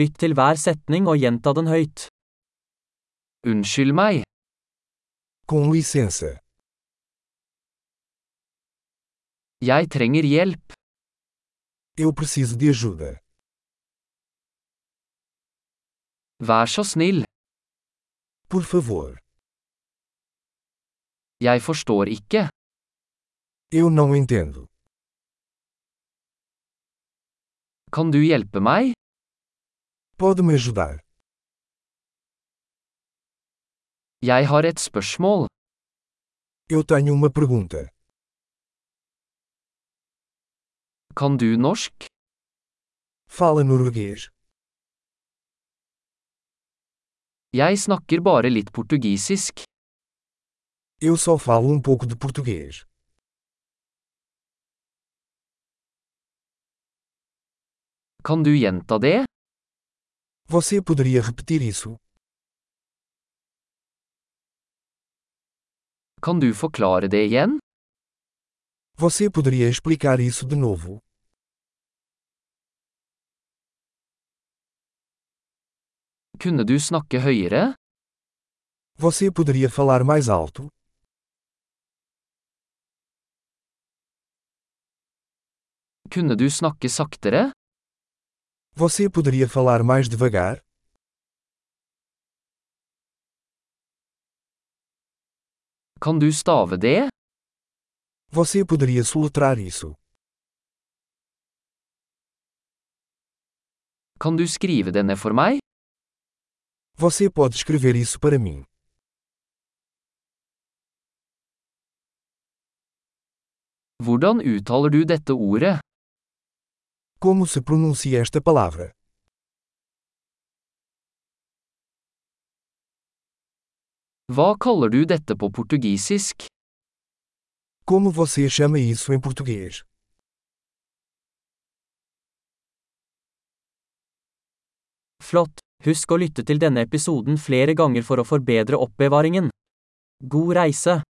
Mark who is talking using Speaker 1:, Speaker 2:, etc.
Speaker 1: Lytt til hver setning og gjenta den høyt. Unnskyld meg,
Speaker 2: Com licença,
Speaker 1: jeg trenger hjelp.
Speaker 2: eu preciso de ajuda.
Speaker 1: Vær så snill,
Speaker 2: Por favor,
Speaker 1: jeg forstår ikke.
Speaker 2: eu não entendo.
Speaker 1: Kan du hjelpe meg?
Speaker 2: Pode me ajudar?
Speaker 1: Jeg har et spørsmål.
Speaker 2: Eu tenho uma pergunta.
Speaker 1: Kan du norsk?
Speaker 2: Fala norueguês.
Speaker 1: Jeg snakker bare litt portugisisk.
Speaker 2: Eu só falo um pouco de português.
Speaker 1: Kan du gjenta det?
Speaker 2: Você poderia repetir isso?
Speaker 1: Kan du forklare det igjen?
Speaker 2: Você poderia explicar isso de novo?
Speaker 1: Kunne du snakke høyere?
Speaker 2: Você poderia falar mais alto?
Speaker 1: Kunne du snakke saktere?
Speaker 2: Você poderia falar mais devagar?
Speaker 1: Kan du stave det?
Speaker 2: Você poderia soletrar isso?
Speaker 1: Kan du skrive det ned for meg?
Speaker 2: Você pode escrever isso para mim?
Speaker 1: Hvordan uttaler du dette ordet?
Speaker 2: Como se pronuncia esta palavra?
Speaker 1: Hva kaller du dette på portugisisk?
Speaker 2: Como você chama isso em português?
Speaker 1: Flott! Husk å lytte til denne episoden flere ganger for å forbedre oppbevaringen. God reise!